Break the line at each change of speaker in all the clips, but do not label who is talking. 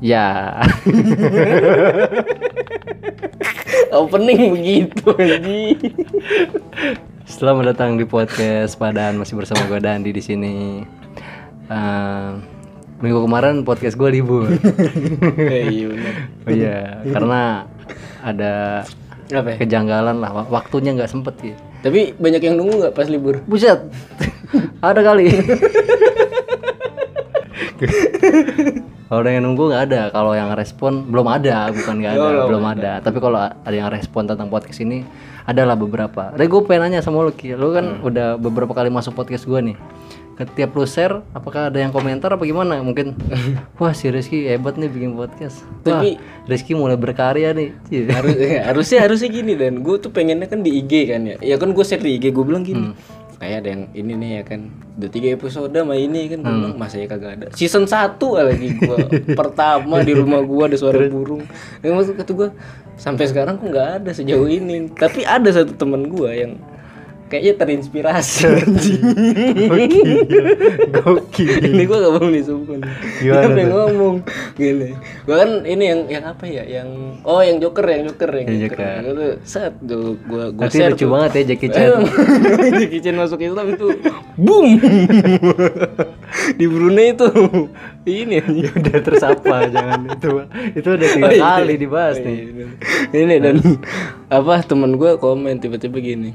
Ya.
Opening begitu anjing.
Selamat datang di podcast Padan masih bersama gue Dandi di sini. Eh, minggu kemarin podcast gue libur.
Eh, iya bener.
Oh iya, karena ada
Apa ya?
kejanggalan lah wa- waktunya nggak sempet gitu.
Tapi banyak yang nunggu nggak pas libur?
Buset. ada kali. kalau yang nunggu nggak ada, kalau yang respon belum ada, bukan nggak ada,
Oh,
belum ada. Tapi kalau ada yang respon tentang podcast ini, adalah beberapa. Re, gue pengen nanya sama lu, Ki. Lu kan udah beberapa kali masuk podcast gua nih. Ketiap lu share, apakah ada yang komentar apa gimana? Mungkin, wah si Rizky hebat nih bikin podcast. Wah,
Tapi-
Rizky mulai berkarya nih. Cie.
Harus, ya, harusnya harusnya gini dan gue tuh pengennya kan di IG kan ya. Ya kan gue share di IG gue bilang gini. Kayak ada yang ini nih ya kan Udah tiga episode sama ini kan Gue bilang masa ya kagak ada Season 1 lagi gue Pertama di rumah gue ada suara burung Yang maksud kata gue Sampai sekarang kok nggak ada sejauh ini Tapi ada satu temen gue yang Kayaknya terinspirasi
Gokil.
ini gue gak mau nih sumpah nih.
Hmm. Gimana
Siapa yang
tuh?
ngomong gini gue kan ini yang yang apa ya yang oh yang joker yang joker yang
Yang
joker,
Joker.
Gua tuh set tuh gue gue
Nanti lucu banget ya Jackie Chan.
Jackie Chan masuk Islam itu boom di Brunei itu ini
ya udah terus apa jangan itu itu udah tiga
Oh, iya.
kali dibahas nih
ini dan apa teman gue komen tiba-tiba gini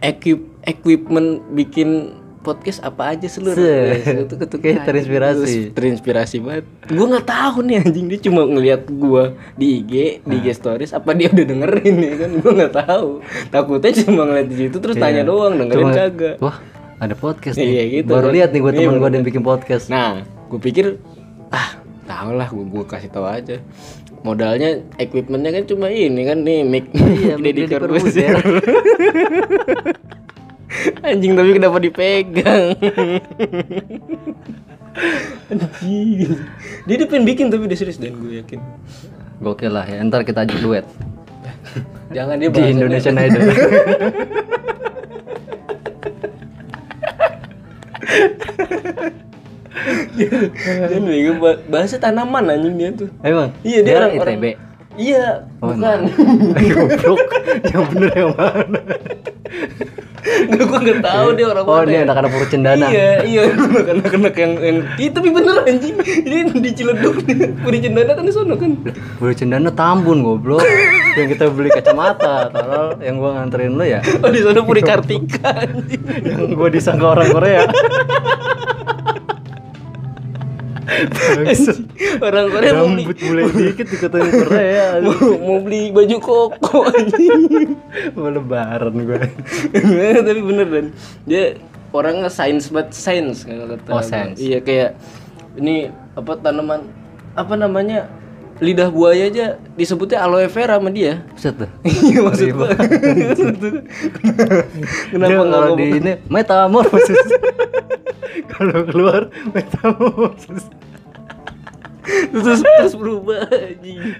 equip equipment bikin podcast apa aja seluruh
Se-
itu
Kayak terinspirasi.
terinspirasi banget gue nggak tahu nih anjing dia cuma ngelihat gue di IG di
Ah.
IG stories apa dia udah dengerin ya kan gue nggak tahu takutnya cuma ngeliat di situ terus tanya doang dengerin
Iya. Cuma,
kagak
wah ada podcast nih
Iya, gitu
baru
kan.
lihat nih gue
Iya,
temen gue
bener.
ada yang bikin podcast
Nah, gue pikir ah tau lah gue gue kasih tahu aja modalnya equipmentnya kan cuma ini kan nih mic
Iya, mic
Deddy
Deddy
Corbuzier. anjing tapi kenapa dipegang anjing dia udah pengen bikin tapi udah serius dan gue yakin
gokil lah ya ntar kita ajak duet
jangan dia
di
bahasanya-
Indonesian Idol
Jangan bego, bah- bahasa tanaman anjing dia tuh
emang
iya dia, orang, orang-
ITB
iya bukan
goblok yang bener yang mana
gue nggak tahu dia orang
oh
mana
ini
ya.
anak-anak Purcendana
Iya, iya, anak-anak yang yang Ih, tapi bener anjing. Ini di Ciledug nih. Puri Cendana kan di sono kan.
Purcendana Tambun goblok yang kita beli kacamata tolol yang gue nganterin lu ya
Oh, di sono Puri Kartika anjing.
yang gue disangka orang Korea
Anjing. Orang Korea mau beli
rambut mulai dikit dikatain Korea
mau, mau beli baju koko anjing. Eh,
mau lebaran gue
tapi bener dan dia orangnya sains banget sains kalau kata.
Oh,
gua.
sains.
Iya kayak ini apa tanaman apa namanya? Lidah buaya aja disebutnya aloe vera sama dia.
Buset tuh
Iya maksud gua. Kenapa
Dia
nggak
kalau
ngomong?
di ini metamorfosis kalau keluar metamorfosis
terus terus berubah anjing.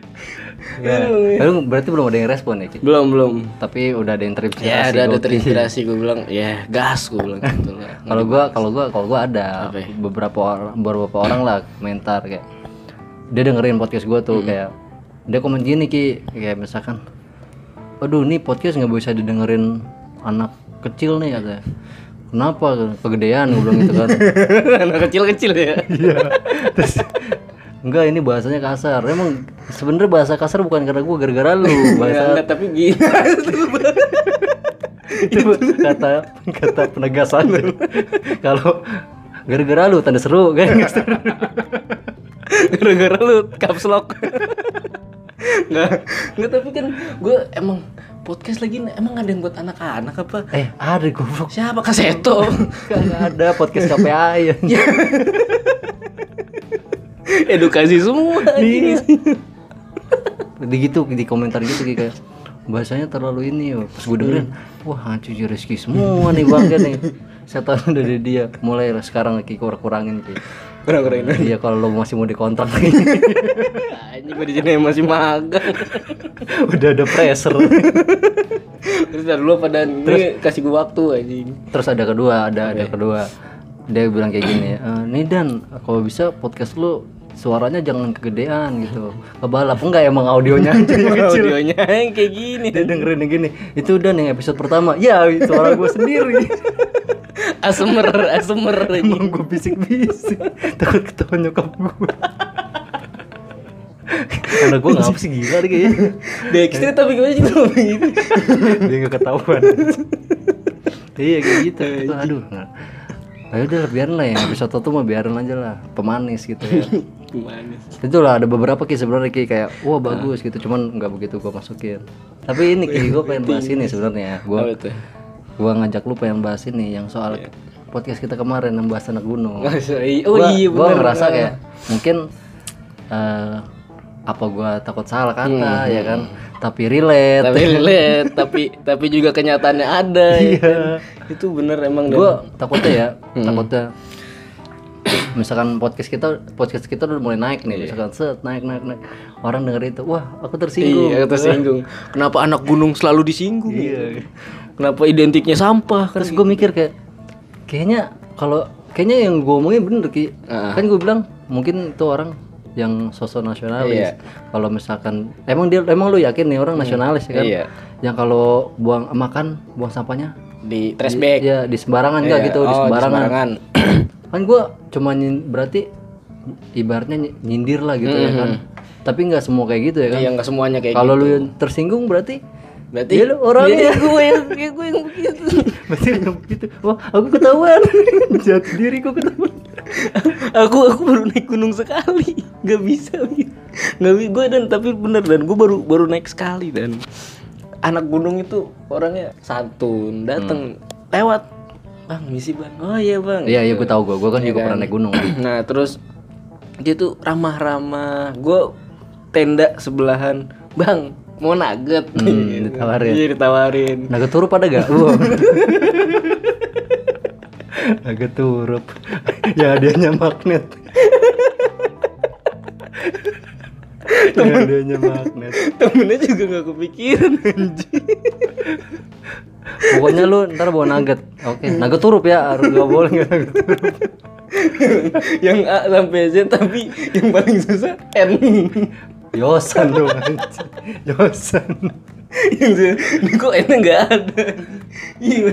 ya. Lalu berarti belum ada yang respon ya Ki?
belum belum
tapi udah ada yang terinspirasi
ya ada
gua.
ada terinspirasi gue bilang ya gas gue bilang gitu lah
kalau gua kalau gua kalau gua ada
Apa ya?
beberapa orang beberapa orang lah komentar kayak dia dengerin podcast gua
Hmm.
tuh kayak dia komen gini ki kayak misalkan aduh nih podcast nggak bisa didengerin anak kecil nih katanya kenapa kegedean gua bilang gitu kan
anak kecil kecil ya
Iya. Terus, enggak ini bahasanya kasar emang sebenernya bahasa kasar bukan karena gua gara-gara lu bahasa
Enggak, tapi gini
itu kata kata penegasan tuh. kalau gara-gara lu tanda seru kan
gara-gara lu caps lock nggak nggak tapi kan gue emang podcast lagi emang ada yang buat anak-anak apa
eh ada goblok
siapa kaseto
Kagak ada podcast KPI anjing.
edukasi semua anjing.
Di gitu di komentar gitu kayak bahasanya terlalu ini ya. Pas gue dengerin, wah hancur si Rizky semua nih bangga nih. Setan udah dari dia. Mulai lah sekarang lagi kurang-kurangin kayak.
kurang-kurang
Iya kalau lo masih mau dikontrak
anjing gue di sini masih magang
udah ada pressure.
terus dari dulu pada ini kasih gue waktu anjing
Terus ada kedua, ada ada kedua. Dia bilang kayak gini, "Eh, nih Dan, kalau bisa podcast lu suaranya jangan kegedean gitu kebalap enggak emang audionya aja yang kecil
audionya yang kayak gini
dia dengerin yang gini itu udah nih episode pertama ya suara gue sendiri
asmer asmer lagi
emang gue bisik-bisik takut ketahuan nyokap gue karena gue ngapa sih gila deh kayaknya
Dexter tapi gue juga ngomong gitu
dia nggak ketahuan iya kayak gitu Itu, aduh ayo udah biarin lah ya episode satu mah biarin aja lah pemanis gitu ya
gimana
itulah ada beberapa ki sebenarnya ki kayak wah
Nah.
bagus gitu cuman nggak begitu gua masukin tapi ini ki gua pengen bahas ini sebenarnya
Iya. apa
gua
tuh
gua ngajak lu pengen bahas ini yang soal podcast kita kemarin yang bahas anak gunung
Masa iya- oh
gua,
iya
gua
bener
ngerasa kayak mungkin eh, apa gua takut salah kata ya kan tapi relate
Hmm, tapi relate tapi tapi juga kenyataannya ada ya kan? itu bener emang dan-
gue takutnya ya
Hmm.
takutnya misalkan podcast kita podcast kita udah mulai naik
Iya.
nih misalkan set naik naik naik orang denger itu wah aku tersinggung
Iya, tersinggung. Kenapa anak gunung selalu disinggung? ya? Kenapa identiknya sampah? Kan?
terus gue mikir kayak kayaknya kalau kayaknya yang gue omongin bener ki
Ah.
kan gue bilang mungkin itu orang yang sosok
Iya.
nasionalis kalau misalkan emang dia emang lu yakin nih orang nasionalis ya kan
Iya.
yang kalau buang makan buang sampahnya
Di trash bag.
ya di sembarangan nggak gitu di
Oh,
sembarangan
sembarangan.
kan gua cuma nyin- berarti ibaratnya nyi- nyindir lah gitu ya kan tapi nggak semua kayak gitu ya kan
Hmm. Iya, nggak semuanya kayak gitu.
kalau lu yang tersinggung berarti
Berarti
dia lu orangnya
gue yang ya gue yang begitu.
berarti lu gitu wah aku ketahuan jahat diri gua ketahuan
aku aku baru naik gunung sekali. Gak bisa. Gak bisa gue dan tapi bener dan gue baru baru naik sekali dan anak gunung itu orangnya santun, dateng lewat. Bang, misi bang. Oh iya bang.
Hmm. iya iya gua tahu gua gua kan juga pernah naik gunung
nah terus dia tuh ramah-ramah gue tenda sebelahan bang mau nugget
Hmm, ditawarin.
Iya, ditawarin
naga turup ada gak Belum. naga turup ya hadiahnya magnet ya hadiahnya magnet
temennya juga nggak kepikiran anjing
Pokoknya lu ntar bawa nugget. Oke, nugget turup ya, harus gak boleh nggak nugget turup.
yang A sampai Z tapi yang paling susah N
Yosan dong anjing. Yosan.
yang susah, ini kok N nggak ada iya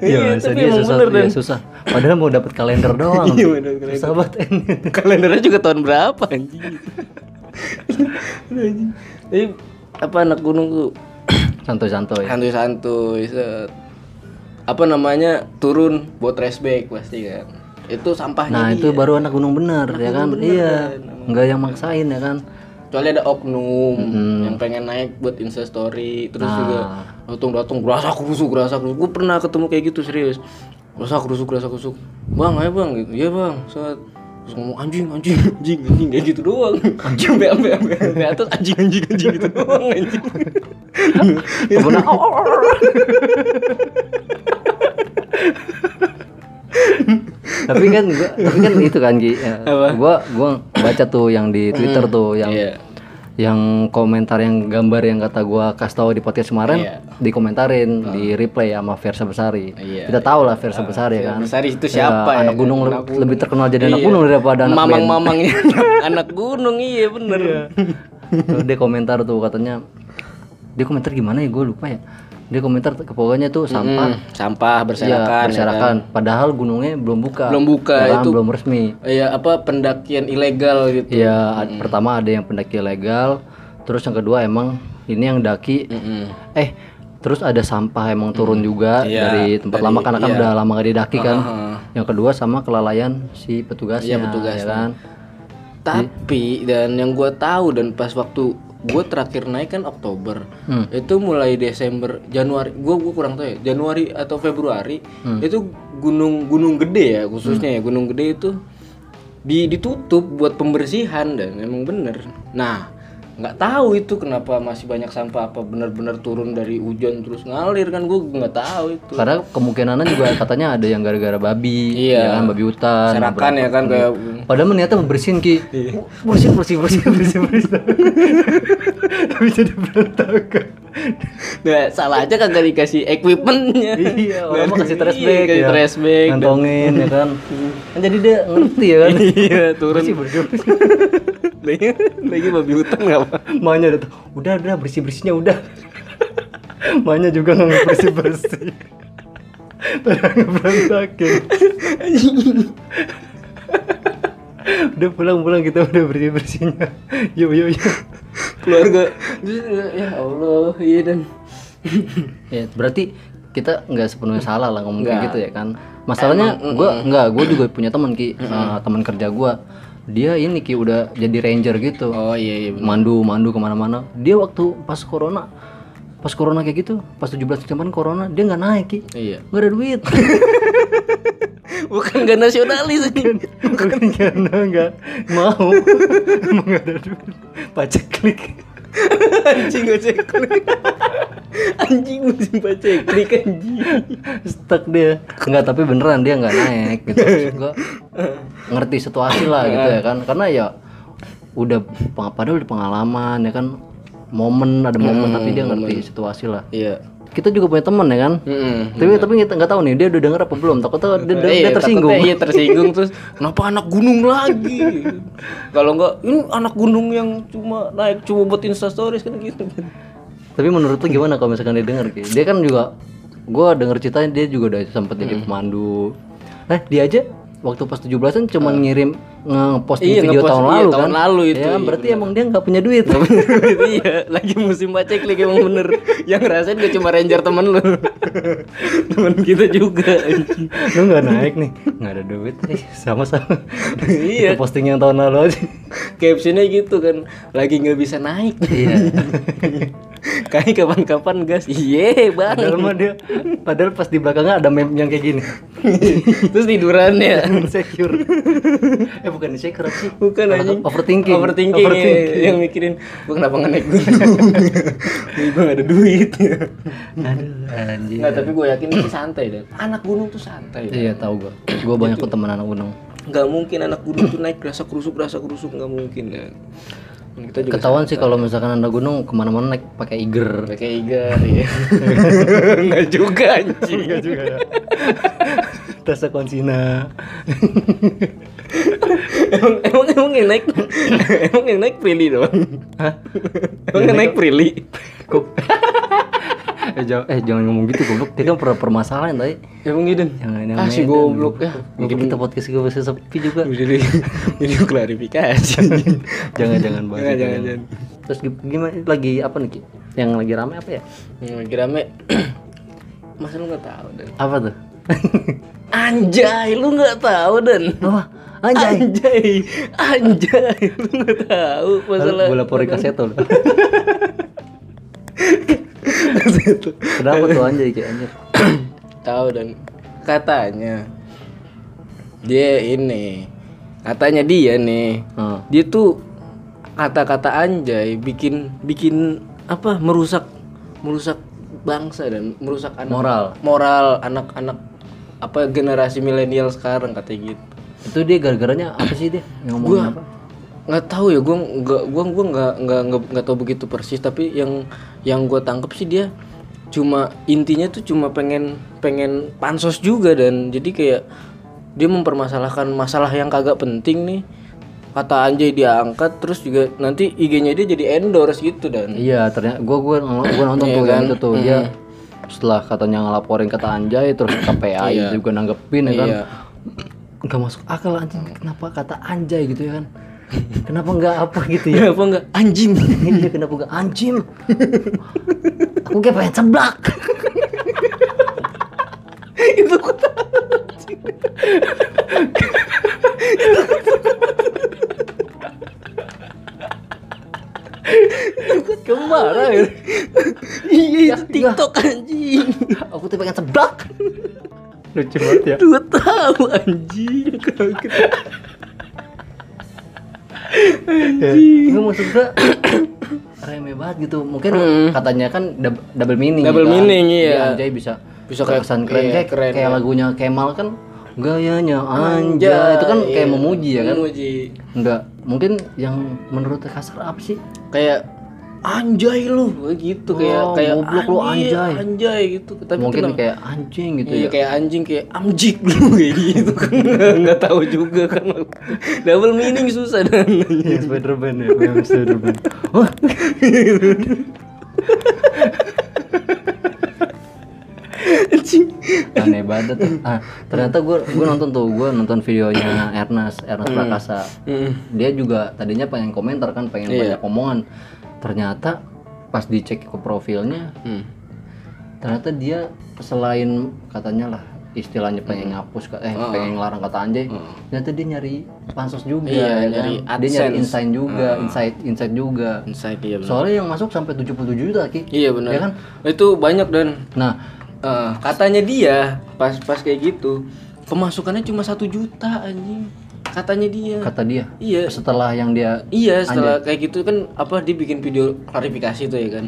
iya,
Yosan dia susah tuh, dia susah. Padahal mau dapat kalender doang.
Iya, bener, kalender.
susah banget ini.
kalendernya juga tahun berapa anjing Aduh, anjing. tapi apa anak gunung tuh Ah,
Santuy-santuy.
santuy-santuy set. apa namanya turun buat trash bag pasti kan itu sampahnya
Nah,
dia.
itu baru anak gunung bener ya kan? Iya. Enggak yang maksain ya kan?
kecuali ada oknum
Mm-hmm.
yang pengen naik buat insta story terus
Nah.
juga datang datang gerasa kerusuk gerasa kerusuk gue pernah ketemu kayak gitu serius gerasa kerusuk gerasa kerusuk bang ayo bang gitu iya bang set terus ngomong anjing anjing anjing anjing kayak gitu doang anjing ampe ampe ampe ampe atas anjing anjing anjing gitu doang anjing Iya.
Temennya, "Oh, oh, oh." tapi kan gua, tapi kan itu kan Ki. Ya, Gua gua baca tuh yang di Twitter tuh yang
Iya.
yang komentar yang gambar yang kata gua kasih tahu di podcast kemarin dikomentarin di replay sama Versa Besari.
Ah. Iya,
Kita tahu lah Versa Besari ya kan.
Besari itu siapa ya
anak
kan?
gunung le-
Anak Iya.
lebih terkenal jadi anak gunung daripada anak band.
mamang-mamangnya anak- anak gunung iya bener
Terus dia komentar tuh katanya dia komentar gimana ya gue lupa ya. Dia komentar ke- pokoknya tuh sampah
Hmm, sampah berserakan ya kan?
berserakan. Padahal gunungnya belum buka.
belum buka
Ya kan,
itu
belum resmi.
ya apa pendakian ilegal gitu
Ya ad- pertama ada yang pendaki legal, terus yang kedua emang ini yang daki. Eh terus ada sampah emang
Hmm.
turun juga
Iya,
dari tempat lama karena kan udah lama gak didaki kan. Yang kedua sama kelalaian si petugasnya,
Iya,
ya kan.
tapi dan yang gua tahu dan pas waktu gue terakhir naik kan Oktober itu mulai Desember Januari gue gua kurang tahu ya Januari atau Februari itu gunung gunung gede ya khususnya ya gunung gede itu di, ditutup buat pembersihan dan memang bener nah nggak tahu itu kenapa masih banyak sampah apa benar-benar turun dari hujan terus ngalir kan gue nggak tahu itu
Karena kemungkinan juga katanya ada yang gara-gara babi,
Iya.
ya kan, babi hutan.
serakan ya kan kayak
Padahal niatnya membersihin ki,
Iya.
bersihin bersihin bersihin bersihin bersihin. Tapi jadi berantakan.
nah, salah aja kagak dikasih equipmentnya
Iya, orang mau kasih trash
Iya,
bag,
kasih trash bag.
ngantongin ya kan. Kan jadi dia ngerti ya kan.
iya turun
Bersih bersih. bersih.
lagi lagi babi hutan nggak apa
Maknya udah tuh, udah udah bersih bersihnya udah. Maknya juga nggak bersih bersih. Padahal ngeberantakin. udah pulang-pulang kita udah bersih-bersihnya yuk yuk yuk
keluarga Terus, ya allah iya dan
ya berarti kita nggak sepenuhnya salah lah ngomong kayak
Nggak.
gitu ya kan masalahnya gue nggak gue juga punya teman ki eh, teman kerja gue dia ini ki udah jadi ranger gitu
oh iya iya bener.
mandu mandu kemana-mana dia waktu pas corona pas corona kayak gitu pas 17 kemarin corona dia nggak naik ki
iya
nggak ada duit
bukan gak nasionalis anjing.
bukan karena nggak mau emang nggak ada duit pacak klik
anjing gue cek anjing musim pacek klik anjing
stuck dia nggak tapi beneran dia nggak naik gitu Maksud gua ngerti situasi lah gitu ya kan karena ya udah peng- padahal udah pengalaman ya kan momen ada momen tapi dia ngerti situasi lah
iya
kita juga punya temen ya kan
Mm-mm.
tapi tapi kita nggak tahu nih dia udah denger apa belum takutnya dia, dia- dia
Iya,
tersinggung
takutnya Iya tersinggung terus kenapa anak gunung lagi? Kalau enggak ini anak gunung yang cuma naik cuma buat instastories kan gitu.
tapi menurut lu gimana kalau misalkan dia denger Ki? dia kan juga gua denger ceritanya dia juga udah sempet jadi pemandu eh dia aja waktu pas 17-an cuman ngirim ngeposting
Ah. Iya,
video
ngepost-
tahun
iya,
lalu
tahun
kan
lalu itu,
ya kan?
iya,
berarti emang dia nggak punya duit
iya, lagi musim pacek lagi emang bener. Yang ngerasain gak cuma ranger temen lu. temen kita juga.
lu nggak naik nih nggak ada duit eh, sama sama Kita
Iya.
posting yang tahun lalu aja
Captionnya gitu kan, lagi nggak bisa naik.
iya
Kayak kapan-kapan gas, iye bang.
padahal mah dia padahal pas di belakangnya ada meme yang kayak gini
Terus tiduran ya.
insecure eh bukan insecure apa sih
Bukan
Apa-
anjing.
overthinking
Overthinking,
Overthinking.
iya. yang mikirin gua kenapa nggak naik gunung. gua nggak ada duit. iya.
aduh anjing
Nggak, tapi gue yakin sih santai deh. Anak gunung tuh santai.
Iya tahu gua. Gua banyak tuh temen anak gunung.
Nggak mungkin anak gunung tuh naik rasa kerusuk rasa kerusuk nggak mungkin ya. Dan Kita juga
Ketahuan sih kalau misalkan anak gunung kemana-mana naik pakai iger.
pakai igar ya. Nggak juga anjing.
Iya juga. ya. Tas konsina.
emang, emang emang yang naik emang yang naik prilly doang.
Hah?
Emang yang naik prilly.
Kok? eh, jangan, eh jangan ngomong gitu goblok. Dia kan pernah permasalahan tadi.
Emang Iden.
Jangan yang
Ah si
Medan.
goblok ya.
Mungkin kita podcast gue bisa sepi juga.
Jadi jadi klarifikasi.
Jangan-jangan
Jangan
banget.
jangan jangan.
Terus gi- gimana lagi apa nih? Ki? Yang lagi rame apa ya?
Hmm, lagi rame. Masa lu nggak tahu dan?
Apa tuh?
Anjay, lu nggak tahu dan?
Wah, anjay.
Anjay, anjay, lu nggak tahu masalah.
Gue laporin ke Seto. loh. Kenapa tuh anjay kayak anjir?
tahu dan katanya dia ini katanya dia nih
Hmm.
dia tuh kata-kata anjay bikin bikin apa merusak merusak bangsa dan merusak anak
Moral.
moral anak-anak apa generasi milenial sekarang katanya gitu
Itu dia gara-garanya apa sih dia? Yang ngomongin
gua
apa?
nggak tahu ya gua nggak gua gua nggak nggak nggak nggak tahu begitu persis tapi yang yang gua tangkep sih dia cuma intinya tuh cuma pengen pengen pansos juga dan jadi kayak dia mempermasalahkan masalah yang kagak penting nih kata anjay diangkat terus juga nanti IG-nya dia jadi endorse gitu dan
Iya, ternyata gua gua, gua nonton tuh yang itu tuh dia setelah katanya ngelaporin kata anjay terus KPI juga nanggepin ya kan.
Iya.
Nggak masuk akal anjing kenapa kata anjay gitu ya kan. Kenapa nggak apa gitu ya?
ya apa enggak anjing
Iya kenapa nggak anjim? Aku kayak pengen ceblak.
itu gua tahu.
Kamu marah ya?
iya itu TikTok anjing
Aku tuh pengen ceblak. Lucu banget ya.
dua tahu anjing kaget
Nggak maksud gua remeh banget gitu mungkin katanya kan dab- double meaning
Double
kan.
meaning,
Jadi
iya.
anjay bisa
Bisa
bisa
kayak-
kesan keren
iya,
kayak
keren,
kayak
iya.
lagunya Kemal kan gayanya anjay itu kan kayak
iya.
memuji ya kan
Memuji.
enggak mungkin yang menurut kasar apa sih
Kayak anjay lu gitu kayak
Oh,
kayak
goblok lu, anjay.
anjay gitu tapi
mungkin
kenapa-
kayak anjing gitu
Iya
ya
kayak anjing kayak amjik lu kayak gitu kan nggak tahu juga kan double meaning susah dan
Iya Spiderman ya, memang Spiderman. Wah. Aneh banget tuh. Ah, ternyata gue gue nonton tuh gue nonton videonya Ernest
Hmm.
Ernest Prakasa. Dia juga tadinya pengen komentar kan pengen
Iya.
banyak omongan. Ternyata pas dicek ke profilnya
Hmm.
ternyata dia selain katanya lah istilahnya
Hmm.
pengen ngapus ka- eh pengen ngelarang kata anjay ternyata dia nyari pansos juga
Iya,
ya kan?
nyari
dia nyari
AdSense.
insight juga insight insight juga
insight iya benar
soalnya yang masuk sampai 77 juta ki
iya benar
Ya kan?
itu banyak dan
nah
eh, katanya dia pas pas kayak gitu pemasukannya cuma satu juta anjing katanya dia
kata dia
iya
setelah yang dia
Iya setelah kayak gitu kan apa dia bikin video klarifikasi tuh ya kan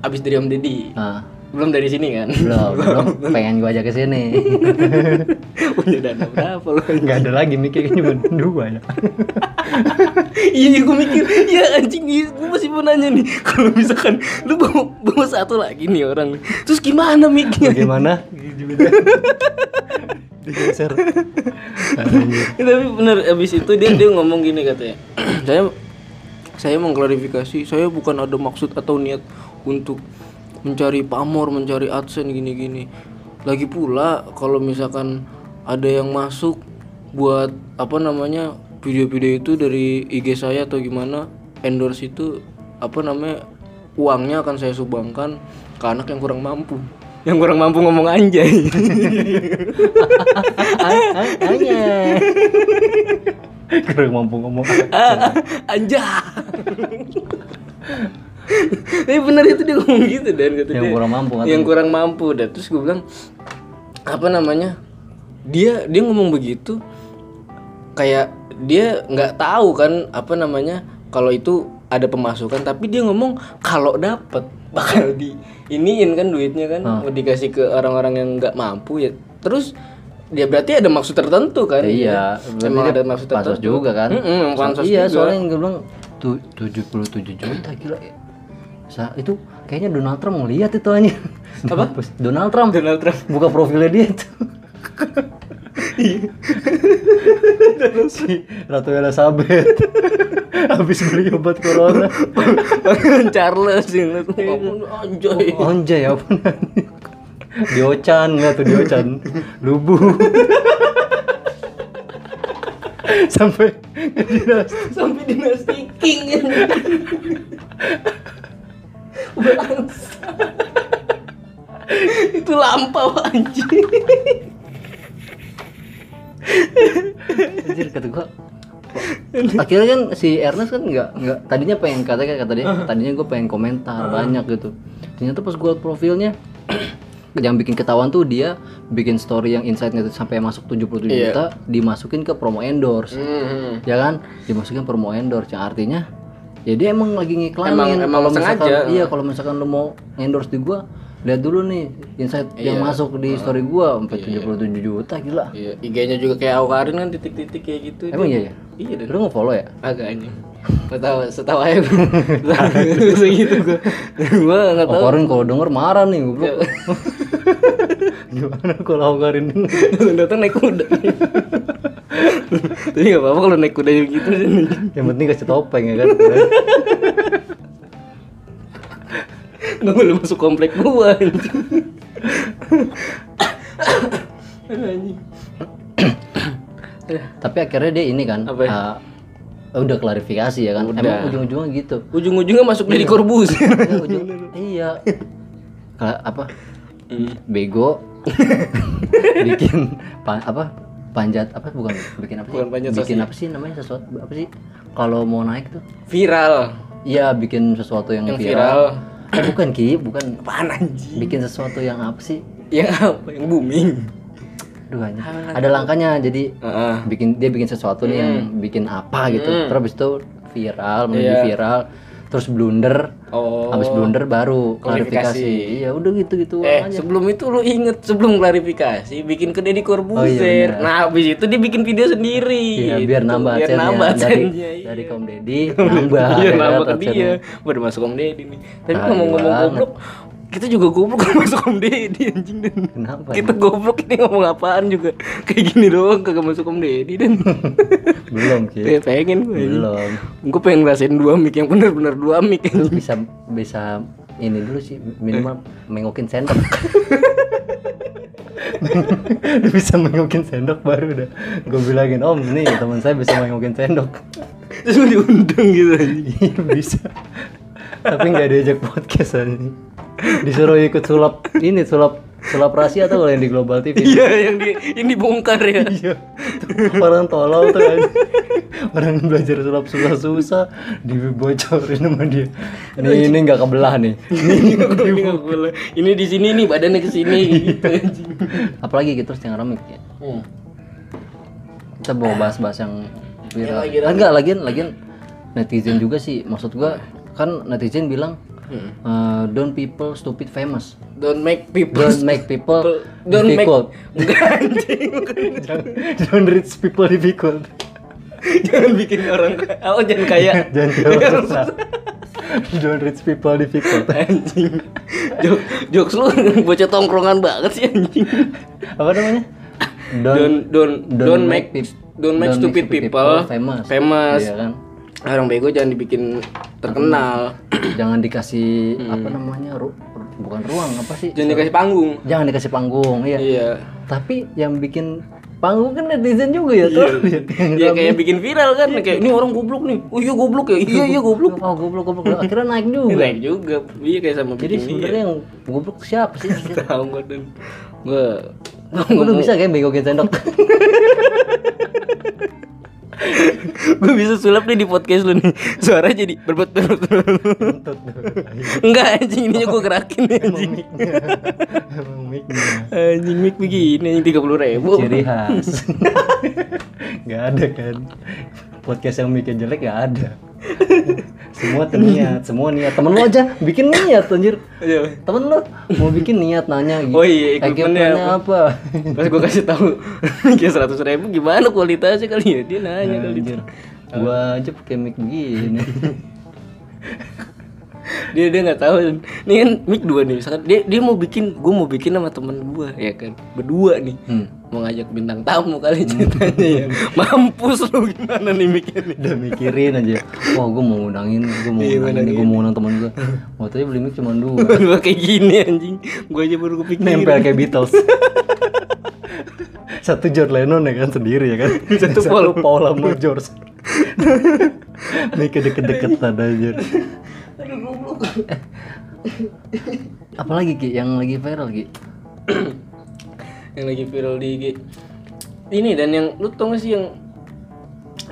Abis dari Om Deddy
nah,
Belum dari sini kan
belum belum pengen gua ajak ke sini
Punya dana berapa lu
nggak ada lagi mikirnya cuma dua ya
Iya gue mikir Ya anjing gue masih mau nanya nih Kalau misalkan lu bawa, bawa satu lagi nih orang Terus gimana miknya
bagaimana digeser
Tapi bener abis itu dia dia ngomong gini katanya Saya saya mengklarifikasi Saya bukan ada maksud atau niat untuk mencari pamor mencari adsense gini-gini Lagi pula kalau misalkan ada yang masuk buat apa namanya video-video itu dari IG saya atau gimana endorse itu apa namanya uangnya akan saya sumbangkan ke anak yang kurang mampu yang kurang mampu ngomong anjay
Hanya. Kurang mampu ngomong.
Ah, Anja. Tapi bener itu dia ngomong gitu dan kata
Yang
dia,
kurang mampu katanya.
Yang kurang mampu dan terus gue bilang apa namanya? Dia dia ngomong begitu kayak dia nggak tahu kan apa namanya kalau itu ada pemasukan tapi dia ngomong kalau dapet bakal di iniin kan duitnya kan mau dikasih ke orang-orang yang nggak mampu ya terus dia berarti ada maksud tertentu kan
Iya,
emang
berarti
ada maksud tertentu
pansos juga kan?
Mm-mm, emang
So-
pansos
iya,
juga.
soalnya yang gue bilang tu- 77 juta gila. Sa itu kayaknya Donald Trump ngeliat itu aja. Apa? Donald Trump
Donald Trump
buka profilnya dia itu. si Ratu Elizabeth habis beli obat corona.
Charles yang ngeliat, "Oh, ampun, anjay
Anjay Oh, ya, apa namanya? Diocan nggak tuh Diocan lubu sampai nggak jelas
sampai dinasti king ya. Bangsa. itu lampau anjing
anjir kata gua akhirnya kan si Ernest kan nggak nggak tadinya pengen kata kata dia tadinya gue pengen komentar banyak gitu ternyata pas gue profilnya yang bikin ketahuan tuh dia bikin story yang insightnya tuh sampai masuk 77
Iya.
juta dimasukin ke promo endorse
Mm-hmm.
ya kan dimasukin promo endorse yang artinya ya dia emang lagi ngiklanin
Emang- emang
kalau misalkan
sengaja.
iya kalau misalkan lu mau endorse di gua lihat dulu nih insight yang masuk di story gua sampai 77 juta gila
iya IG-nya juga kayak Awkarin kan titik-titik kayak gitu
emang iya ya
iya dan
lu nge-follow ya
agak anjing nggak tahu setahu aja gue segitu gue gue gitu nggak tahu Iya.
Okarin kalau denger marah nih goblok gimana kalau Okarin denger?
datang naik kuda tapi nggak apa-apa kalau naik kuda gitu sih
yang penting kasih topeng ya kan
Gak boleh masuk komplek gua anjing. Aduh, anjing.
tapi akhirnya dia ini kan
Apa ya?
eh, udah klarifikasi ya kan emang ujung-ujungnya gitu
Ujung-ujungnya masuk dari korbus.
Ya, ujung- iya Kala- apa Hmm. bego bikin pa- apa panjat apa bukan bikin apa sih?
Bukan panjat
bikin apa sih namanya sesuatu apa sih kalau mau naik tuh
Viral.
iya bikin sesuatu yang,
Yang viral.
viral, Eh, bukan ki bukan
Apaan anjing?
bikin sesuatu yang apa sih
Yang apa? Yang booming.
Aduh, anjing. ada langkahnya jadi
Heeh.
bikin dia bikin sesuatu nih yang bikin apa gitu terus habis itu viral menjadi
Hmm. Iya.
viral terus blunder
Oh.
habis blunder baru
Klarifikasi.
klarifikasi ya udah gitu gitu
Eh, sebelum itu lu inget sebelum klarifikasi bikin ke Deddy Corbuzier.
Oh, iya, benar.
nah, habis itu dia bikin video sendiri.
Iya, biar
Gitu,
nambah
biar
adsense-nya.
nambah
dari
adsense-nya, iya.
dari kaum Deddy nambah
Iya,
ya,
nambah ke
adsense-nya.
dia. Udah masuk Om Deddy nih. Tapi
Tai
ngomong-ngomong
banget.
goblok, kita juga goblok kalau masuk Om Deddy anjing dan
kenapa
kita goblok ini ngomong apaan juga kayak gini doang kagak masuk Om Deddy dan
belum sih
Kayak pengen gue anjing.
Iya. belum
gue pengen ngerasain dua mic yang bener-bener dua mic
lu bisa bisa ini dulu sih minimal mengokin sendok Lu bisa mengokin sendok baru udah gue bilangin om nih teman saya bisa mengokin sendok
terus lu diundang gitu anjing
Iya, bisa tapi nggak diajak podcast hari ini disuruh ikut sulap ini sulap sulap rahasia atau kalau yang di global tv
iya yang di yang dibongkar ya
iya orang tolol tuh kan orang belajar sulap susah susah dibocorin sama dia
Iya.
ini ini nggak kebelah nih
ini nggak boleh. Ini di sini nih badannya ke sini gitu anjing
apalagi gitu terus yang remik ya
Hmm.
kita mau bahas-bahas yang viral.
lagi-
Ah, enggak, lagian lagian netizen juga sih. Maksud gua kan netizen bilang
Hmm.
eh, don't people stupid famous.
don't make people
Don't make people
don't make
difficult.
Enggak, anjing
Jangan- don't rich people difficult.
jangan bikin orang kaya. oh jangan kaya
Jangan
Iya,
terlalu susah. Don't rich people difficult.
anjing Jok- jokes lu bocah tongkrongan banget sih anjing
Apa namanya?
don't don't
don't
don't make
make peop-
don't make stupid people
famous.
famous Ah,
Iya kan?
orang bego jangan dibikin terkenal
Jangan dikasih
Hmm.
apa namanya? Ru, ru- bukan ruang apa sih?
jangan dikasih panggung
Jangan dikasih panggung, iya.
iya
tapi yang bikin panggung kan netizen juga ya tuh
Ya kayak bikin viral kan kayak ini orang goblok nih. Oh iya goblok ya. Iya iya goblok.
oh goblok goblok akhirnya naik juga
Naik juga. Iya kayak sama
jadi
bikin
sebenarnya yang goblok siapa sih
tahu gua dan gua
Gua lu bisa kayak begokin sendok
gua bisa sulap nih di podcast lu nih. Suara jadi berbet berbet. berbet. Enggak anjing ini gua gerakin nih anjing.
Emang mic-nya.
Anjing mic begini anjing 30 ribu.
ciri khas nggak ada kan podcast yang bikin jelek nggak ada semua niat semua niat temen lo aja bikin niat anjir
Iya.
temen lo mau bikin niat nanya gitu
Oh iya, equipmentnya
equipmentnya apa
Pas gua kasih tahu kayak 100 ribu gimana kualitasnya kali ya dia nanya kali
Anjir. Gua aja pakai mic begini.
dia dia nggak tahu ini kan mic dua nih misalkan dia dia mau bikin gue mau bikin sama temen gue ya kan berdua nih
Hmm.
mau ngajak bintang tamu kali ceritanya ya mampus lu gimana nih mikir nih
Udah mikirin aja. Wah, gua mau ngundangin, gua mau
Iya,
ngundangin, ini, gua mau ngundang temen gua. Waktunya beli mic cuma dua.
Gua kayak gini anjing gue aja baru kepikiran
Nempel kayak Beatles. Satu John Lennon ya kan sendiri ya kan. Satu, Paul Paul sama George. Mic deket-deketan aja.
aduh goblok
Apalagi Ki yang lagi viral Ki?
yang lagi viral di IG ini dan yang lu tau gak sih yang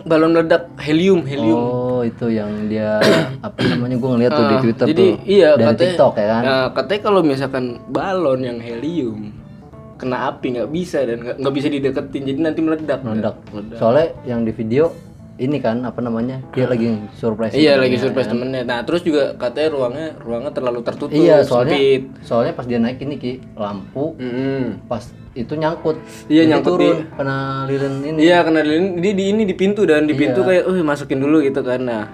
balon meledak helium helium
Oh, itu yang dia apa namanya gua ngeliat tuh di
Ah,
Twitter
jadi,
tuh.
iya,
dari
katanya-
TikTok ya kan.
Nah, katanya kalau misalkan balon yang helium kena api nggak bisa dan nggak nggak bisa dideketin jadi nanti meledak.
meledak. Soalnya yang di video ini kan apa namanya dia lagi surprise.
Iya lagi
kan?
surprise temennya. Nah terus juga katanya ruangnya ruangnya terlalu tertutup.
Iya soalnya
sempit.
soalnya pas dia naik ini ki lampu
Mm-mm.
pas itu nyangkut.
Iya,
Jadi
nyangkut
turun kena lilin ini.
Iya karena di, di, di ini di pintu dan di pintu kayak,
Iya.
uh masukin dulu gitu kan. Nah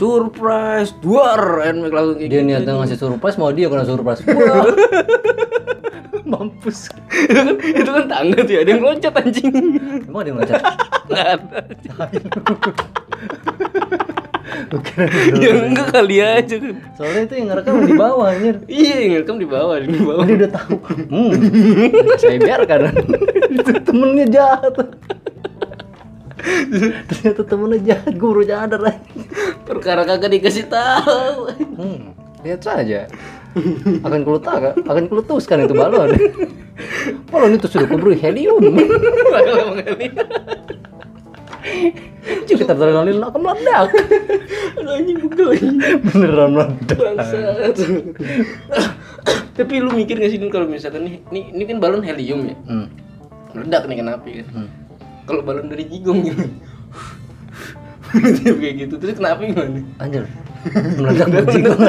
surprise duar and Mike langsung kayak gitu.
Dia niatnya ngasih surprise mau dia kena surprise. Wah. Mampus.
itu kan tangga tuh ya ada yang loncat anjing
Emang dia ngelacak.
nggak ada
Bukan.
ya enggak kali aja kan
Soalnya itu yang ngerekam di bawah anjir.
Iya, yang rekam di bawah, di bawah.
Dia udah tahu. Hmm. Saya biarkan. itu temennya jahat. Ternyata temennya jahat, gue baru nyadar anjing.
Perkara kagak dikasih tahu.
Hmm, lihat saja. Akan kulutak, akan kulutuskan itu balon. Balon itu sudah kuberi helium. Jika terlalu akan meledak.
Aduh anjing pegel anjing.
Beneran meledak.
Bangsat. Tapi lu mikir gak sih Din, kalau misalkan nih, ini, ini kan balon helium ya.
Hmm.
Meledak nih kenapa ya? Kalau balon dari jigong gitu. kayak gitu terus kenapa gimana?
Anjir, meledak bejigong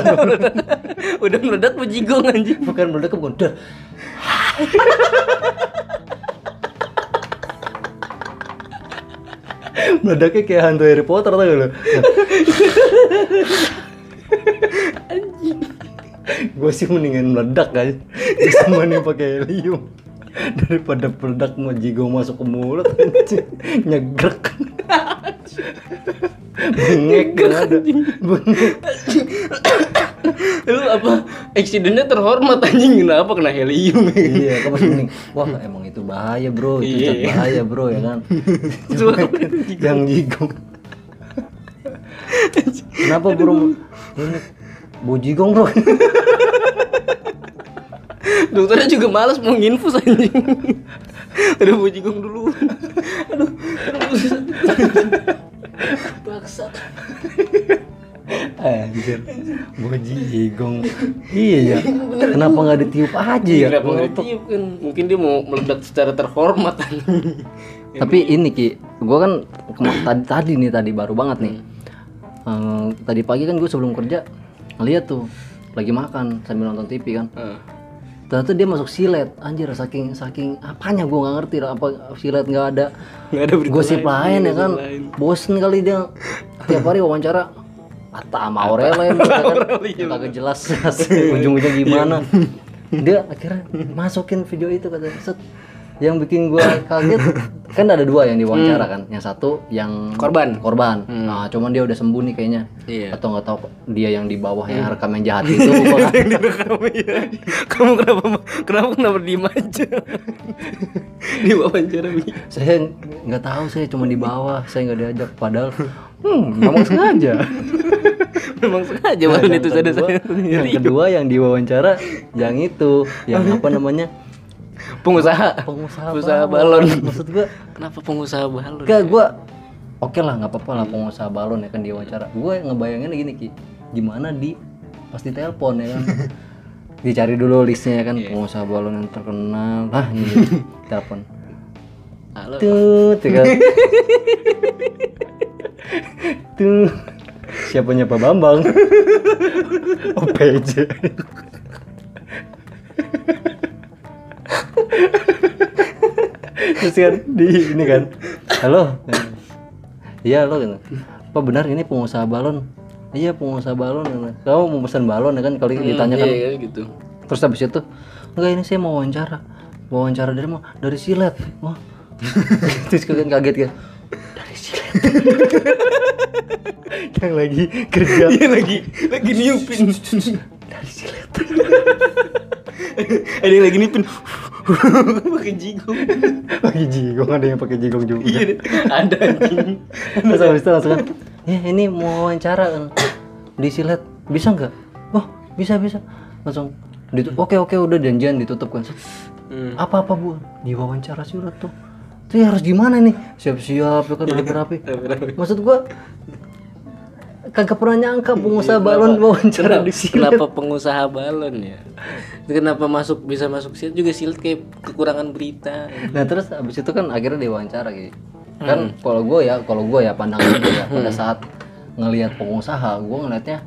Udah meledak bejigong anjing.
bukan meledak bukan dar meledaknya kayak hantu Harry Potter tau gak lo gue sih mendingan meledak guys sama nih pakai helium daripada meledak mau jigo masuk ke mulut anjing. nyegrek bengek gak ada bengek
Lu apa? Eksidennya terhormat anjing. Kenapa kena helium? ya?
iya kamu mending wah emang itu bahaya bro itu
Iya.
zat bahaya bro ya kan
Suara
yang jigong kenapa bro ini bu jigong bro
Dokternya juga malas mau nginfus anjing. Aduh bejigong dulu. Aduh, aduh pusing. Baksa.
anjir bu jigong iya ya kenapa nggak ditiup aja ya
Kenapa nggak ditiup kan? Mungkin dia mau meledak secara terhormat anjing.
tapi ini ki gue kan kema- tadi tadi nih tadi baru banget nih Eh, tadi pagi kan gue sebelum kerja ngeliat tuh lagi makan sambil nonton TV kan
Heeh.
ternyata dia masuk silet anjir saking saking apanya gua nggak ngerti lah, apa silet nggak ada
Nggak ada berita
gosip lain ya kan
lain.
bosen kali dia tiap hari wawancara Ata sama Aurelian
iya,
kan kagak jelas ujung-ujungnya gimana dia akhirnya masukin video itu katanya set yang bikin gua kaget kan ada dua yang diwawancara
Hmm.
kan yang satu yang
Korban.
korban nah cuman dia udah sembuh nih kayaknya
hmm. Iya. Hmm.
atau nggak tahu dia yang di bawah yang rekam yang jahat itu kan. gua nggak
kamu ya. Kamu kenapa kenapa kenapa diem aja? Di wawancara Bi.
saya nggak tahu saya cuma di bawah saya nggak diajak padahal hmm memang sengaja
Memang sengaja
Nah,
baru
yang
itu ada
kedua-
saya
yang
Iya.
kedua yang diwawancara yang itu yang apa namanya
pengusaha.
pengusaha
Pengusaha balon.
maksud gua
Kenapa pengusaha balon?
gak gua oke lah nggak apa-apa lah pengusaha balon ya kan diwawancara gua ngebayanginnya gini ki gimana di pasti telepon ya kan dicari dulu listnya ya kan
Iya.
pengusaha balon yang terkenal ah ini telepon
Halo.
Tut, ya kan? Tut. Siapanya Pak Bambang? Oh, OPJ. Terus kan di ini kan. Halo. Iya, halo kan. Pak benar ini pengusaha balon. Iya, pengusaha balon. Kamu mau pesan balon ya kan kalau ditanyakan
Iya, iya, gitu.
terus habis itu enggak ini saya mau wawancara mau wawancara dari mana dari silet wah terus kalian kaget kan dari silet yang lagi kerja
Iya lagi lagi niupin.
dari silet
Ada yang Eh, lagi niupin. Pakai jigong.
lagi jigong ada yang pakai jigong juga
Iya, ada anjing.
terus habis itu langsung kan ya ini mau wawancara kan? di silet bisa nggak wah bisa bisa langsung ditu- oke oke udah janjian ditutup kan
Hmm.
apa apa bu di wawancara silet tuh Terus harus gimana nih siap-siap ya kan
Iya.
rapi-rapi
Rame-rame.
maksud gua kagak pernah nyangka pengusaha balon wawancara di sini
Iya, Kenapa pengusaha balon ya? Kenapa masuk bisa masuk silet juga silet kayak kekurangan berita.
nah terus abis itu kan akhirnya diwawancara gitu kan
Hmm.
kalau gue ya kalau gue ya pandangan gue ya pada saat ngelihat pengusaha gue ngelihatnya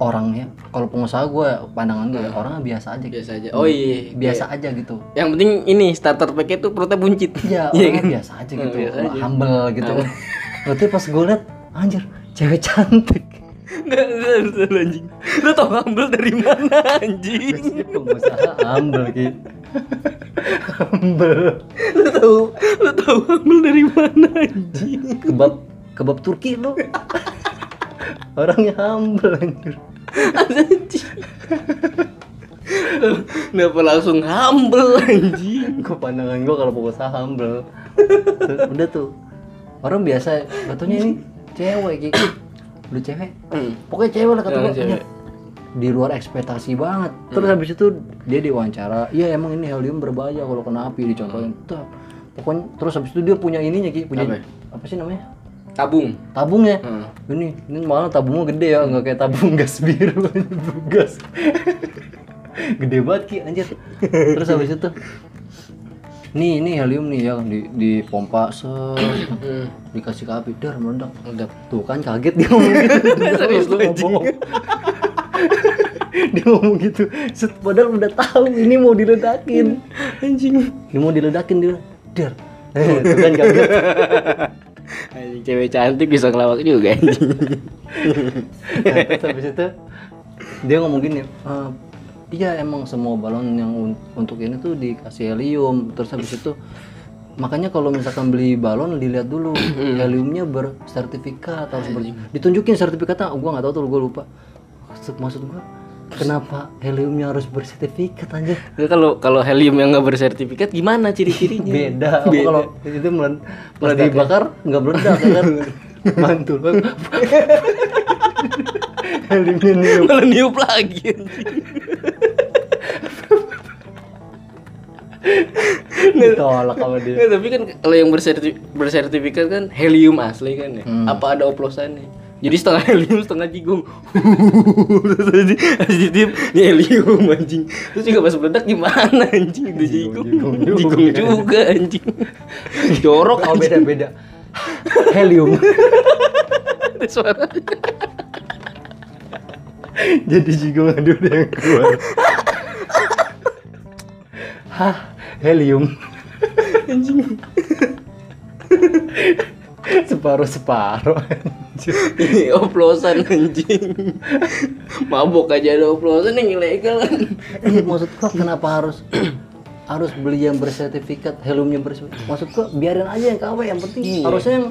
orangnya kalau pengusaha gue pandangan gue orangnya biasa aja gitu.
Hmm. Biasa aja. Oh iya.
biasa aja gitu
Yang penting ini starter pack itu perutnya buncit.
Iya, orangnya biasa aja gitu, humble gitu kan. Berarti pas gue liat, anjir, cewek cantik.
Enggak, enggak, enggak, anjing. Lu tau humble dari mana anjing?
Biasanya pengusaha Iya, humble gitu. humble.
Lu tau, lu tau humble dari mana anjing?
Kebab kebab Turki lu. Orangnya humble anjir.
anjing Kenapa langsung humble anjing?
Gue pandangan gue kalau pengusaha humble. Tuh, Udah tuh. Orang biasa, katanya ini cewek gitu. Udah cewek.
Hmm,
Pokoknya cewek lah kata
Jangan
gue.
cewek. Hmm.
anjir. di luar ekspektasi banget. Terus habis itu dia diwawancara, iya emang ini helium berbahaya kalau kena api dicontohin. Tuh. Pokoknya terus habis itu dia punya ininya Ki, punya
Hmm. Apa?
apa, sih namanya?
Tabung.
Tabungnya.
Hmm.
Ini ini malah tabungnya gede ya, nggak kayak tabung gas biru tabung gas. gede banget Ki anjir. Terus habis itu nih ini helium nih ya kan di dipompa se
Hmm.
dikasih ke api dar meledak
Meledak.
tuh kan kaget dia ngomong gitu
Serius lu,
ngomong dia ngomong gitu Set, padahal udah tahu ini mau diledakin
Iya. Anjing.
ini mau diledakin dia dar eh, tuh kan kaget
Anjing cewek cantik bisa ngelawak juga anjing.
Nah, terus habis itu dia ngomong gini "Eh, iya emang semua balon yang un- untuk ini tuh dikasih helium terus habis itu makanya kalau misalkan beli balon dilihat dulu heliumnya bersertifikat harus ber- ditunjukin sertifikatnya oh, gua nggak tahu tuh gua lupa maksud maksud gua kenapa heliumnya harus bersertifikat aja
Nah, kalau kalau helium yang nggak bersertifikat gimana ciri-cirinya?
beda, ya? Apa kalau itu melen pas dibakar nggak meledak ya kan mantul heliumnya niup.
Malah niup lagi. anjing.
ditolak sama dia
Nggak, tapi kan kalau yang berserti- bersertifikat kan helium asli kan ya.
Hmm.
Apa ada oplosannya? Jadi setengah helium setengah jigung. Terus di- Terus ditiup ini helium anjing. Terus juga pas meledak gimana anjing itu jigung.
Jigung, jigung.
Jigung juga anjing. Jorok
Oh beda
anjing
beda. Helium.
ada suaranya.
Jadi juga ada udah yang keluar. Hah, helium. Anjing. separuh separuh.
Ini oplosan anjing. Mabok aja ada oplosan yang ilegal kan.
Eh, maksud gua kenapa harus harus beli yang bersertifikat heliumnya bersertifikat maksud gua biarin aja yang KW yang penting harusnya yang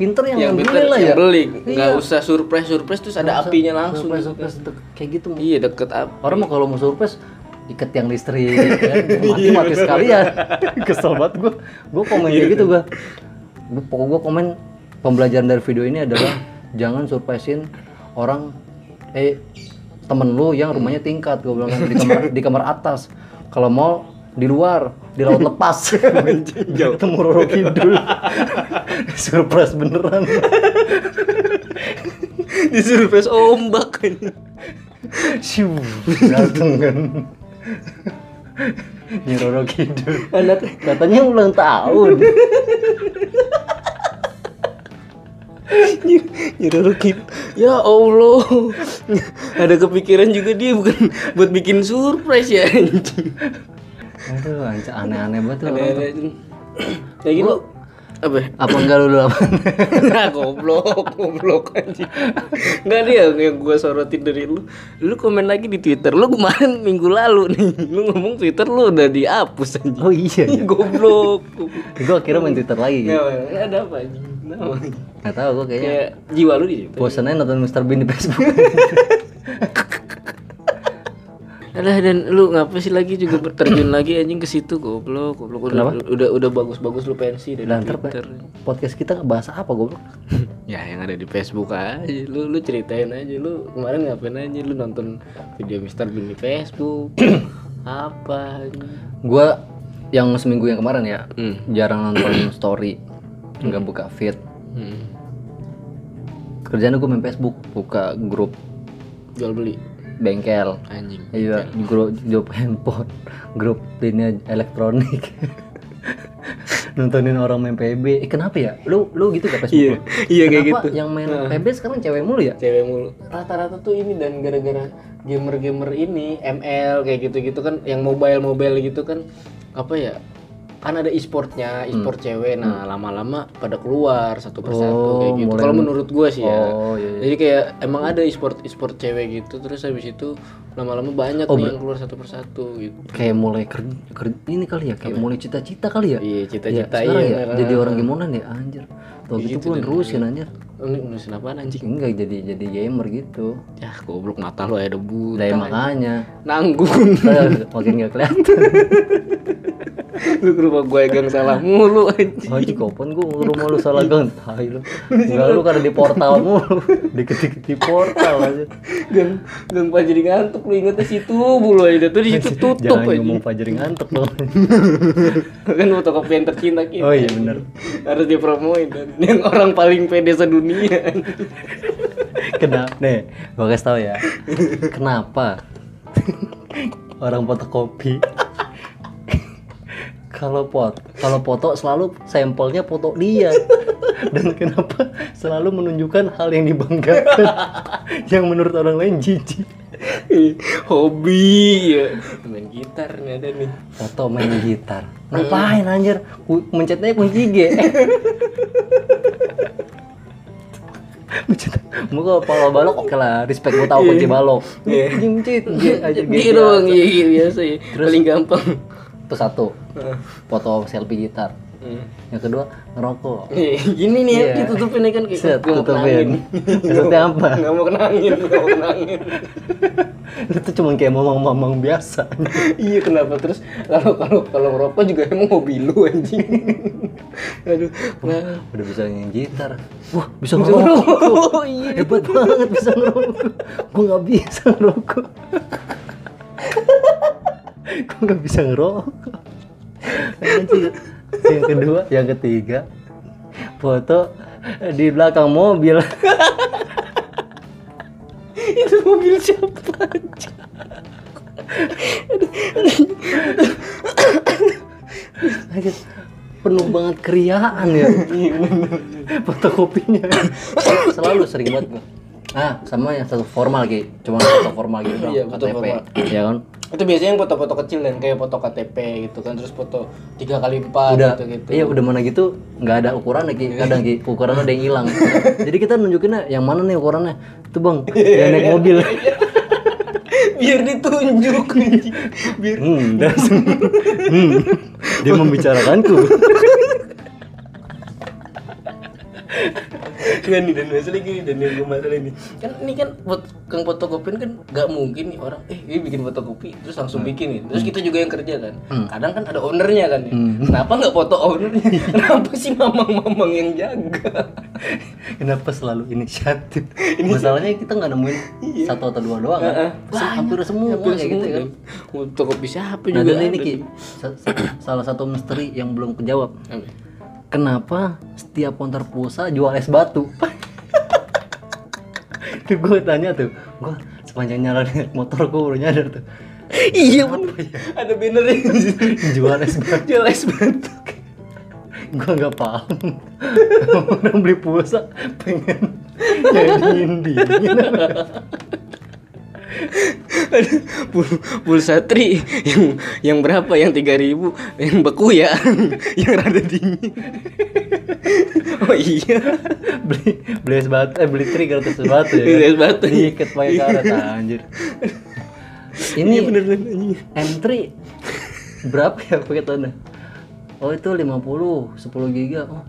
pinter yang,
Iya. Yang
beli
bener
lah ya
yang beli, nggak
Iya.
usah surprise surprise terus ada
Nggak usah
apinya langsung.
surprise, surprise, dek- kayak gitu
Iya deket api.
Orang mah kalau mau surprise iket yang listrik ya. mati mati sekalian. Kesel banget gua. Gua komen kayak gitu gua. Gua pokok gua komen pembelajaran dari video ini adalah jangan surprisein orang eh temen lu yang rumahnya tingkat gua bilang kan, di kamar di kamar atas. Kalau mau di luar di laut lepas ketemu Roro Kidul surprise beneran
di surface ombak
Siu, dateng kan. Nyiroro Kidul.
anak
Katanya Kan ulang tahun.
nyerorokit ya allah ada kepikiran juga dia bukan buat bikin surprise ya anjing.
Aduh, anca- aneh-aneh banget tuh orang tuh.
Ada- kayak gitu apa ya?
Apa enggak lu dulu apa?
nah goblok goblok anjing nggak dia yang- yang gua sorotin dari lu lu komen lagi di twitter lu kemarin minggu lalu nih lu ngomong twitter lu udah dihapus anjing
Oh iya ya.
goblok goblok.
Gue kira main Twitter lagi.
Nggak, nggak ada apa anjing Kenapa, anjing?
Gak tau gue kayaknya.
kayak jiwa lu di situ
Bosan aja nonton Mr. Bean di Facebook.
Alah dan lu ngapa sih lagi juga ber- terjun lagi anjing ke situ goblok goblok udah udah udah bagus-bagus lu pensi dari
Dan ntar
Twitter.
podcast kita bahasa apa goblok?
Ya yang ada di Facebook aja lu lu ceritain aja lu kemarin ngapain aja lu nonton video Mister Bean di Facebook apa anjing?
Gue yang seminggu yang kemarin ya
Hmm.
jarang nonton story, nggak buka feed.
Hmm.
Kerjaan gue main Facebook, buka grup
Jual beli
bengkel.
anjing.
Iya, grup job handphone, grup ini elektronik. Nontonin orang main PB. Eh, kenapa ya? Lu lu gitu gak Facebook? lu?
Iya kayak
Kenapa
gitu.
yang main PB sekarang cewek mulu ya?
Cewek mulu. Rata-rata tuh ini dan gara-gara gamer-gamer ini ML kayak gitu-gitu kan yang mobile-mobile gitu kan apa ya? Kan ada e-sportnya, e-sport cewek. Nah, lama-lama pada keluar satu persatu
Oh,
kayak gitu.
mulai-
Kalau menurut gua sih ya.
Oh, iya, iya.
Jadi kayak emang ada e-sport e-sport cewek gitu terus habis itu lama-lama banyak nih yang keluar satu persatu gitu.
Kayak mulai ker, ker- ini kali ya, kayak mulai cita-cita kali ya.
Iya,
Iya,
cita-cita
sekarang ya
iya.
jadi orang gamelan ya anjir. Tuh gitu pun nerusin anjir.
Ini nulisin apaan anjing?
Enggak jadi jadi gamer gitu.
Ya, goblok mata lo ada debu.
Lah ya makanya.
Nanggung.
Eh, Makin gak kelihatan.
lu ke rumah gue gang salah mulu anjing
Haji kapan gua ke rumah lu salah gang tai lu. Enggak lu karena di portal mulu. Dikit-dikit di portal aja.
gang gang pas jadi ngantuk lu ingetnya situ mulu aja tuh di situ tutup
Jangan
aja
ngomong Fajar ngantuk dong.
kan fotokopi yang tercinta kita
Oh iya benar.
harus dipromoin dan yang orang paling pede sedunia
Kenapa? Nih, gua kasih tau ya. Kenapa orang fotokopi kalau pot kalau foto selalu sampelnya foto dia dan kenapa selalu menunjukkan hal yang dibanggakan yang menurut orang lain jijik
hobi ya main gitar nih ada nih
foto main gitar ngapain anjir Ku- mencetnya kunci G mencet muka kalau balok oke lah respect gue tahu kunci balok
Iya.
anjing mencet G aja G
gitu doang iya iya, biasa ya paling gampang
itu satu foto selfie gitar yang kedua ngerokok
Nih, Eh, gini nih
Hmm. Iya.
ditutupin ya kan kayak
Set,
gua mau kena angin.
tutupin. Maksudnya apa?
nggak mau kena angin nggak mau kena angin
itu cuma kayak mamang-mamang biasa
iya kenapa terus kalau kalau kalau ngerokok juga emang hobi lu anjing aduh nah
udah bisa main gitar wah bisa ngerokok
oh iya
hebat banget bisa ngerokok gue nggak bisa ngerokok gue nggak bisa ngerokok Anjir. yang kedua yang ketiga foto di belakang mobil
itu mobil siapa aja
Anjir, penuh banget keriaan ya foto kopinya selalu sering banget gue ah sama yang satu formal gitu cuma foto formal gitu doang
Iya, foto
KTP
formal.
ya kan
itu biasanya yang foto-foto kecil dan kayak foto KTP gitu kan terus foto tiga kali empat
udah
gitu Iya. gitu
iya udah mana gitu nggak ada ukuran lagi kadang Ki. ukurannya ada yang hilang jadi kita nunjukinnya yang mana nih ukurannya tuh bang yang naik mobil
biar ditunjuk anjing. biar
hmm, dan- hmm, dia membicarakanku
Nggak nih Kan dan masalah gini dan yang gue masalah ini kan ini kan buat kang fotokopin kan nggak mungkin nih orang eh ini bikin fotokopi terus
Hmm.
langsung bikin nih terus kita juga yang kerja kan kadang kan ada ownernya kan ya.
Hmm.
kenapa nggak foto ownernya kenapa sih mamang-mamang yang jaga
kenapa selalu inisiatif masalahnya kita nggak nemuin satu atau dua doang kan hampir semua
Iya. Hampir
kayak gitu
semua
kan
kan fotokopi siapa
nah
juga kan?
dan ini
ada.
Ki, sa- sa- salah satu misteri yang belum kejawab
Apa?
kenapa setiap konter pulsa jual es batu? itu gue tanya tuh, gue sepanjang nyala di motor gue baru nyadar tuh
iya bener
ya?
ada bannernya di situ.
jual es batu.
jual es batu
Gue nggak paham. Orang beli pulsa pengen jadiin dingin.
Aduh, pul- pulsa tri yang yang berapa yang 3000 yang beku ya yang rada dingin oh iya
beli beli es batu, eh beli tri gratis es batu ya.
Beli es batu.
Diikat pakai karet anjir.
ini
Ini
Iya, bener bener anjing.
M3 berapa ya paketannya? Oh itu 50, 10 giga. Oh.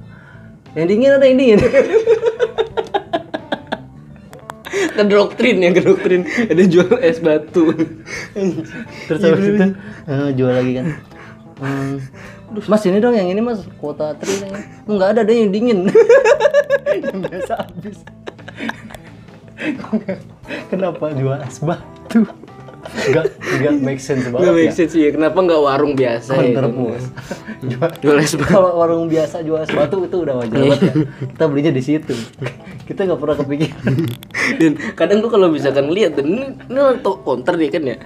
Yang dingin ada yang dingin.
kedoktrin yang kedoktrin ya, ada jual es batu
Terus habis itu eh, jual lagi kan. Hmm, mas ini dong yang ini mas kuota 3 nih. Enggak ada ada yang dingin. yang biasa habis. Kenapa jual es batu? Enggak, enggak make sense
nggak
banget
make
ya.
sense ya kenapa nggak warung biasa ya
Counter puas. Jual
jual es batu
kalau warung biasa jual es batu itu udah wajar banget ya. Kita belinya di situ. Kita nggak pernah kepikiran.
dan kadang gua kalau misalkan lihat dan ini, ini to- counter nih kan ya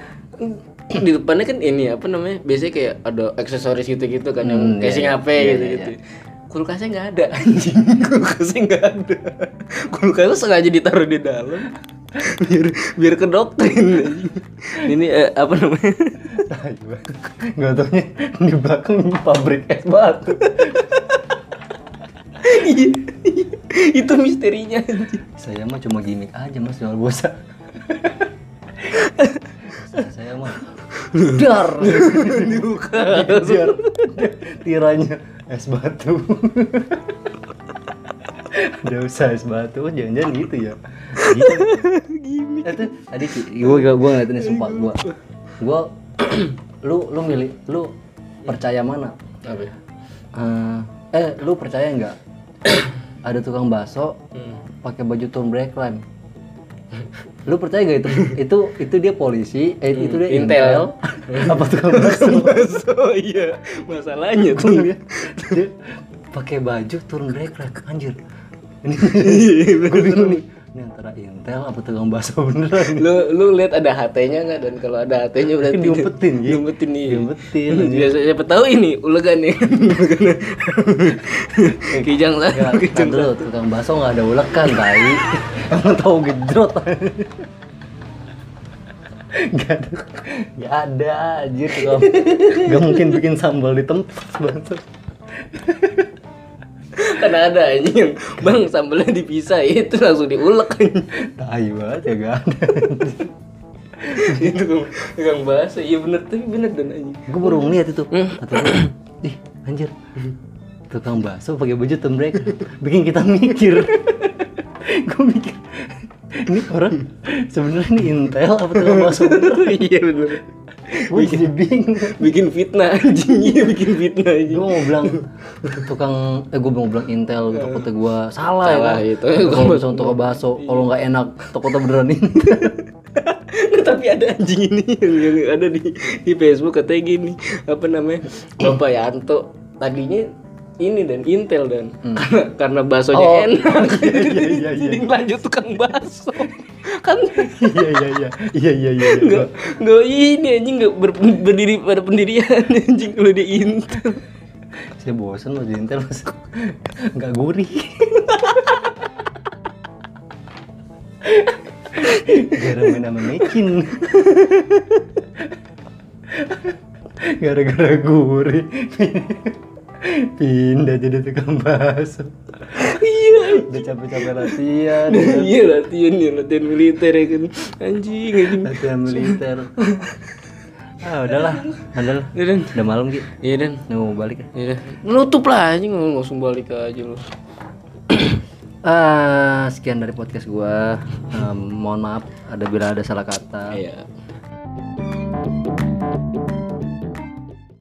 di depannya kan ini apa namanya biasanya kayak ada aksesoris gitu-gitu kan yang
Hmm, iya,
casing
iya.
HP
Iya,
gitu-gitu kulkasnya nggak ada anjing kulkasnya nggak ada kulkasnya sengaja ditaruh di dalam biar biar ke doktrin anjing. ini eh, apa namanya
Gak taunya di belakang pabrik es batu.
Iya, iya. itu misterinya anjing.
Saya mah cuma gimmick aja mas jual bosa. Saya- saya mah dar
Dibuka.
Dikejar. tiranya es batu. Ada usah es batu, Oh, jangan-jangan gitu ya? Gitu.
Gimik.
Eh, tuh, tadi gue gue gue ngeliatin nih, sumpah gue gue lu lu milih lu percaya mana
Apa ya?
Eh, eh lu percaya nggak ada tukang bakso pakai baju Tom Breakland lu percaya nggak itu itu itu dia polisi eh, itu dia
Hmm, Intel.
intel, apa tukang bakso
Bakso, iya. Masalahnya
Gua
tuh.
ngeliat dia pakai baju turun Breakland anjir ini
Iya,
gue bingung nih ini antara intel apa tukang bakso beneran
lu lu lihat ada HT-nya nggak dan kalau ada HT-nya berarti
diumpetin, Ji.
diumpetin nih
Diumpetin,
biasa siapa tahu ini ulegan nih kijang lah
ya kan
kijang
dulu tukang bakso nggak ada ulekan tai emang tahu gedrot Gak ada, gak ada anjir tukang. Gak mungkin bikin sambal di tempat bakso.
kan ada anjing yang, bang sambelnya dipisah itu langsung diulek
Tai banget ya gak ada.
itu tukang bahasa iya bener tapi bener dan anjing
Gue baru ngeliat itu. Kata gua, Ih anjir. Tukang bakso pakai baju tembrek bikin kita mikir. Gue mikir ini orang sebenarnya ini intel apa tukang bakso?
iya bener
Gue jadi bingung.
bikin fitnah anjing iya bikin fitnah anjing
gue mau bilang tukang eh gue mau bilang intel takutnya gue Iya. salah,
Salah,
ya
itu.
Tapi kalau misalnya toko bakso kalau nggak enak takutnya beneran intel
Nggak, tapi ada anjing ini yang, yang ada di di Facebook katanya gini apa namanya
Hmm.
Bapak Yanto tadinya ini dan Intel dan karena karena baksonya
Hmm. Oh.
enak jadi,
Iya, iya, iya.
jadi lanjut tukang bakso kan
iya iya iya iya iya iya
nggak nggak ini anjing nggak ber- berdiri pada pendirian anjing kalau dia Intel
saya bosan mau jadi intel mas nggak gurih gara main sama mecin gara-gara gurih pindah jadi tukang bakso
iya
udah capek-capek latihan
iya latihan ya latihan militer ya kan anjing anjing
latihan militer ah udahlah adalah
ya dan
udah malam ki
ya dan
udah mau balik ya
ya dan menutup lah anjing langsung balik aja lu
Eh, ah sekian dari podcast gua Em, mohon maaf ada bila ada salah kata
iya